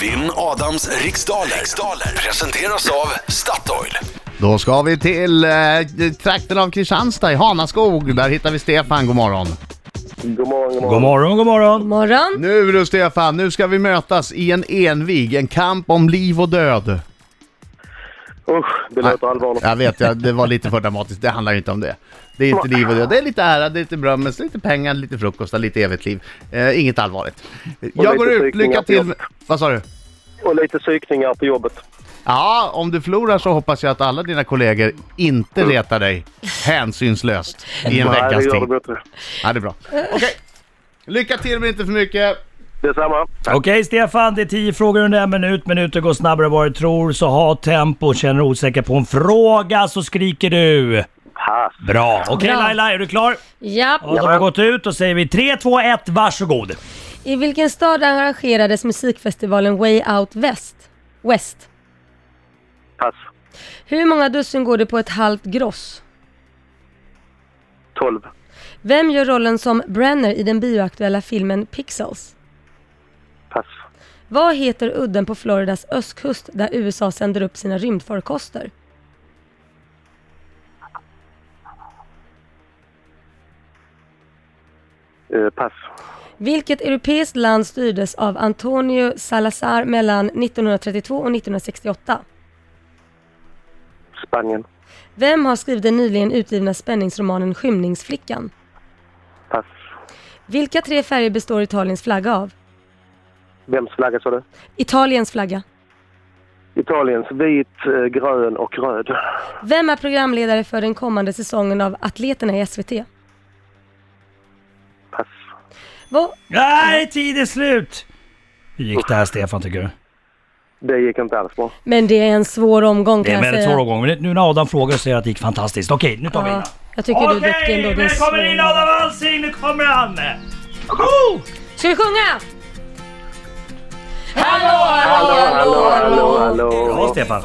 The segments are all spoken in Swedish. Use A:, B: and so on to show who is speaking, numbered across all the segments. A: Vinn Adams riksdaler. riksdaler presenteras av Statoil.
B: Då ska vi till eh, trakten av Kristianstad i Hanaskog. Där hittar vi Stefan, god morgon.
C: God morgon, god morgon.
D: God morgon, god
E: God
D: morgon.
E: morgon.
B: Nu du Stefan, nu ska vi mötas i en envig, en kamp om liv och död.
C: Usch, det låter allvarligt.
B: Jag vet, jag, det var lite för dramatiskt. Det handlar ju inte om det. Det är inte liv och död. Det är lite ära, det är lite brömmes, lite pengar, lite frukost, lite evigt liv. Eh, inget allvarligt. Jag
C: lite
B: går ut,
C: strykningar
B: lycka
C: på
B: till.
C: jobbet.
B: Vad sa du?
C: Och lite psykningar på jobbet.
B: Ja, om du förlorar så hoppas jag att alla dina kollegor inte retar dig hänsynslöst i en
C: Nej, det
B: veckas
C: gör
B: tid.
C: de inte.
B: Ja, det är bra. Okej, lycka till men inte för mycket.
C: Detsamma.
D: Okej Stefan, det är tio frågor under en minut. Minuter går snabbare än vad du tror, så ha tempo. Känner du osäker på en fråga så skriker du.
C: Pass.
D: Bra. Okej
E: Bra.
D: Laila, är du klar?
E: Japp.
D: Ja, då har jag gått ut och säger vi 3, 2, 1, varsågod.
E: I vilken stad arrangerades musikfestivalen Way Out West? West.
C: Pass.
E: Hur många dussin går det på ett halvt gross?
C: 12.
E: Vem gör rollen som Brenner i den bioaktuella filmen Pixels?
C: Pass.
E: Vad heter udden på Floridas östkust där USA sänder upp sina rymdfarkoster?
C: Eh, pass.
E: Vilket europeiskt land styrdes av Antonio Salazar mellan 1932 och 1968?
C: Spanien.
E: Vem har skrivit den nyligen utgivna spänningsromanen Skymningsflickan?
C: Pass.
E: Vilka tre färger består Italiens flagga av?
C: Vems flagga sa du?
E: Italiens flagga.
C: Italiens vit, eh, grön och röd.
E: Vem är programledare för den kommande säsongen av Atleterna i SVT?
C: Pass.
E: Vad?
D: Nej, tiden är slut. Hur gick det här Stefan tycker du?
C: Det gick inte alls bra.
E: Men det är en svår omgång
D: Det
E: kan
D: är en
E: jag
D: väldigt
E: säga.
D: svår omgång, men nu när Adam frågar så säger jag att det gick fantastiskt. Okej, nu tar vi in
E: Ja,
D: honom.
E: jag tycker du är duktig ändå. Det är
D: nu kommer in Adam
E: svår.
D: Alsing, nu kommer han! Woo!
E: Ska vi sjunga?
C: Hallå, hallå, hallå, hallå.
D: Bra Stefan.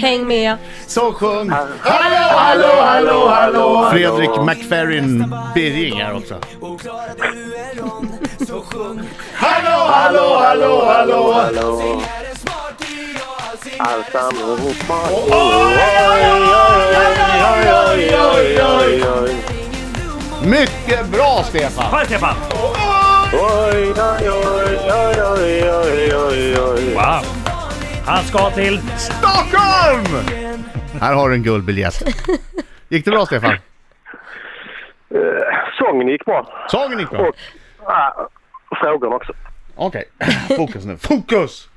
E: Häng med.
B: Så sjung!
C: Hallå, hallå, hallå.
B: Fredrik McFerrin Birging här också.
C: Hallå, hallå, hallå, hallå. Allsammans bara... Oj, oj, oj, oj, oj, oj.
B: Mycket bra Stefan!
D: Kom Stefan!
C: Oj, oj, oj, oj, oj, oj, oj, oj.
D: Wow. Han ska till...
B: Stockholm! Här har du en guldbiljett. Gick det bra Stefan?
C: Eh, Sången gick bra.
B: Sången gick bra?
C: Ah, Frågan också.
B: Okej, fokus nu. Fokus!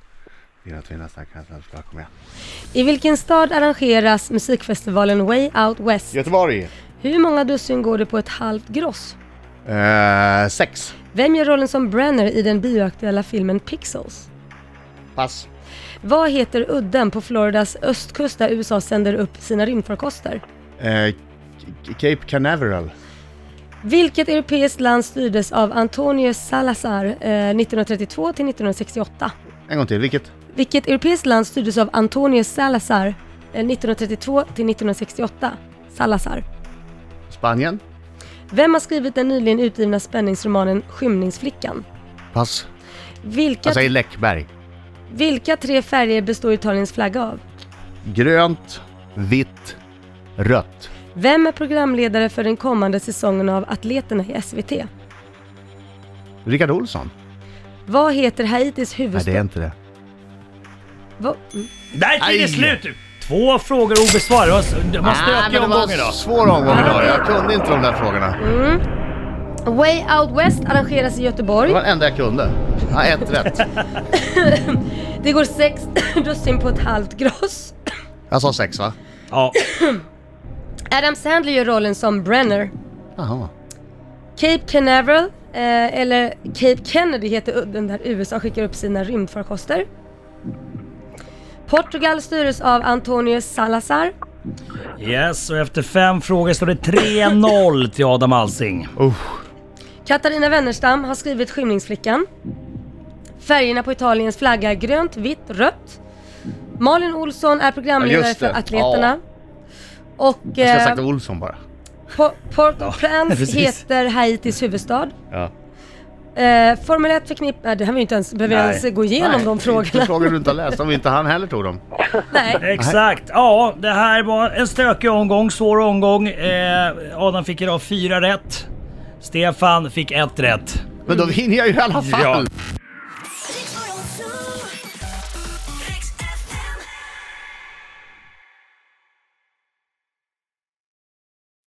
B: Dina tvinna stackars svenskar, kom igen.
E: I vilken stad arrangeras musikfestivalen Way Out West?
B: Göteborg.
E: Hur många dussin går det på ett halvt gross?
B: Eh, sex.
E: Vem gör rollen som Brenner i den bioaktuella filmen Pixels?
B: Pass.
E: Vad heter udden på Floridas östkust där USA sänder upp sina rymdfarkoster?
B: Eh, K- Cape Canaveral.
E: Vilket europeiskt land styrdes av Antonio Salazar eh, 1932 till 1968?
B: En gång till, vilket?
E: Vilket europeiskt land styrdes av Antonio Salazar eh, 1932 till 1968? Salazar.
B: Spanien.
E: Vem har skrivit den nyligen utgivna spänningsromanen Skymningsflickan?
B: Pass.
E: Vilka,
B: Alltså, Jag säger Läckberg.
E: vilka tre färger består Italiens flagga av?
B: Grönt, vitt, rött.
E: Vem är programledare för den kommande säsongen av Atleterna i SVT?
B: Rickard Olsson?
E: Vad heter Haitis
B: Nej,
E: huvudstad? mm.
B: det är inte det.
E: Va-
D: Där är
B: Aj.
D: det slut! Två frågor obesvarade. Det var en stökig omgång
B: Det var en
D: idag.
B: svår omgång idag. Jag kunde inte de där frågorna.
E: Way Out West arrangeras i
B: Det
E: Göteborg.
B: var det enda jag kunde. Ja, ett rätt.
E: Det går sex dussin på ett halvt gross.
B: Jag sa sex va?
D: Ja.
E: Adam Sandler gör rollen som Brenner.
B: Jaha.
E: Cape Canaveral, eh, eller Cape Kennedy heter udden där USA skickar upp sina rymdfarkoster. Portugal styrs av Antonio Salazar.
D: Yes, och efter fem frågor står det 3-0 till Adam Alsing.
E: Katarina Wennerstam har skrivit Skymningsflickan. Färgerna på Italiens flagga är grönt, vitt, rött. Malin Olsson är
B: Ja,
E: programledare
B: just
E: för
B: det.
E: Atleterna. Och
B: Jag ska ha
E: eh,
B: sagt Olsson bara.
E: Po- Port au Prince
D: precis.
E: heter Haitis huvudstad.
B: Ja.
E: Eh, Formel 1 förknippar... Det här vi inte ens, behöver
B: Nej.
E: ens gå igenom
B: Nej,
E: de
B: Inte
E: frågorna.
B: frågor du inte har läst, om inte han heller tog dem.
E: Nej.
D: Exakt. Ja, det här var en stökig omgång, svår omgång. Eh, Adam fick idag fyra rätt. Stefan fick ett rätt.
B: Men då vinner jag ju i alla fall!
D: Ja.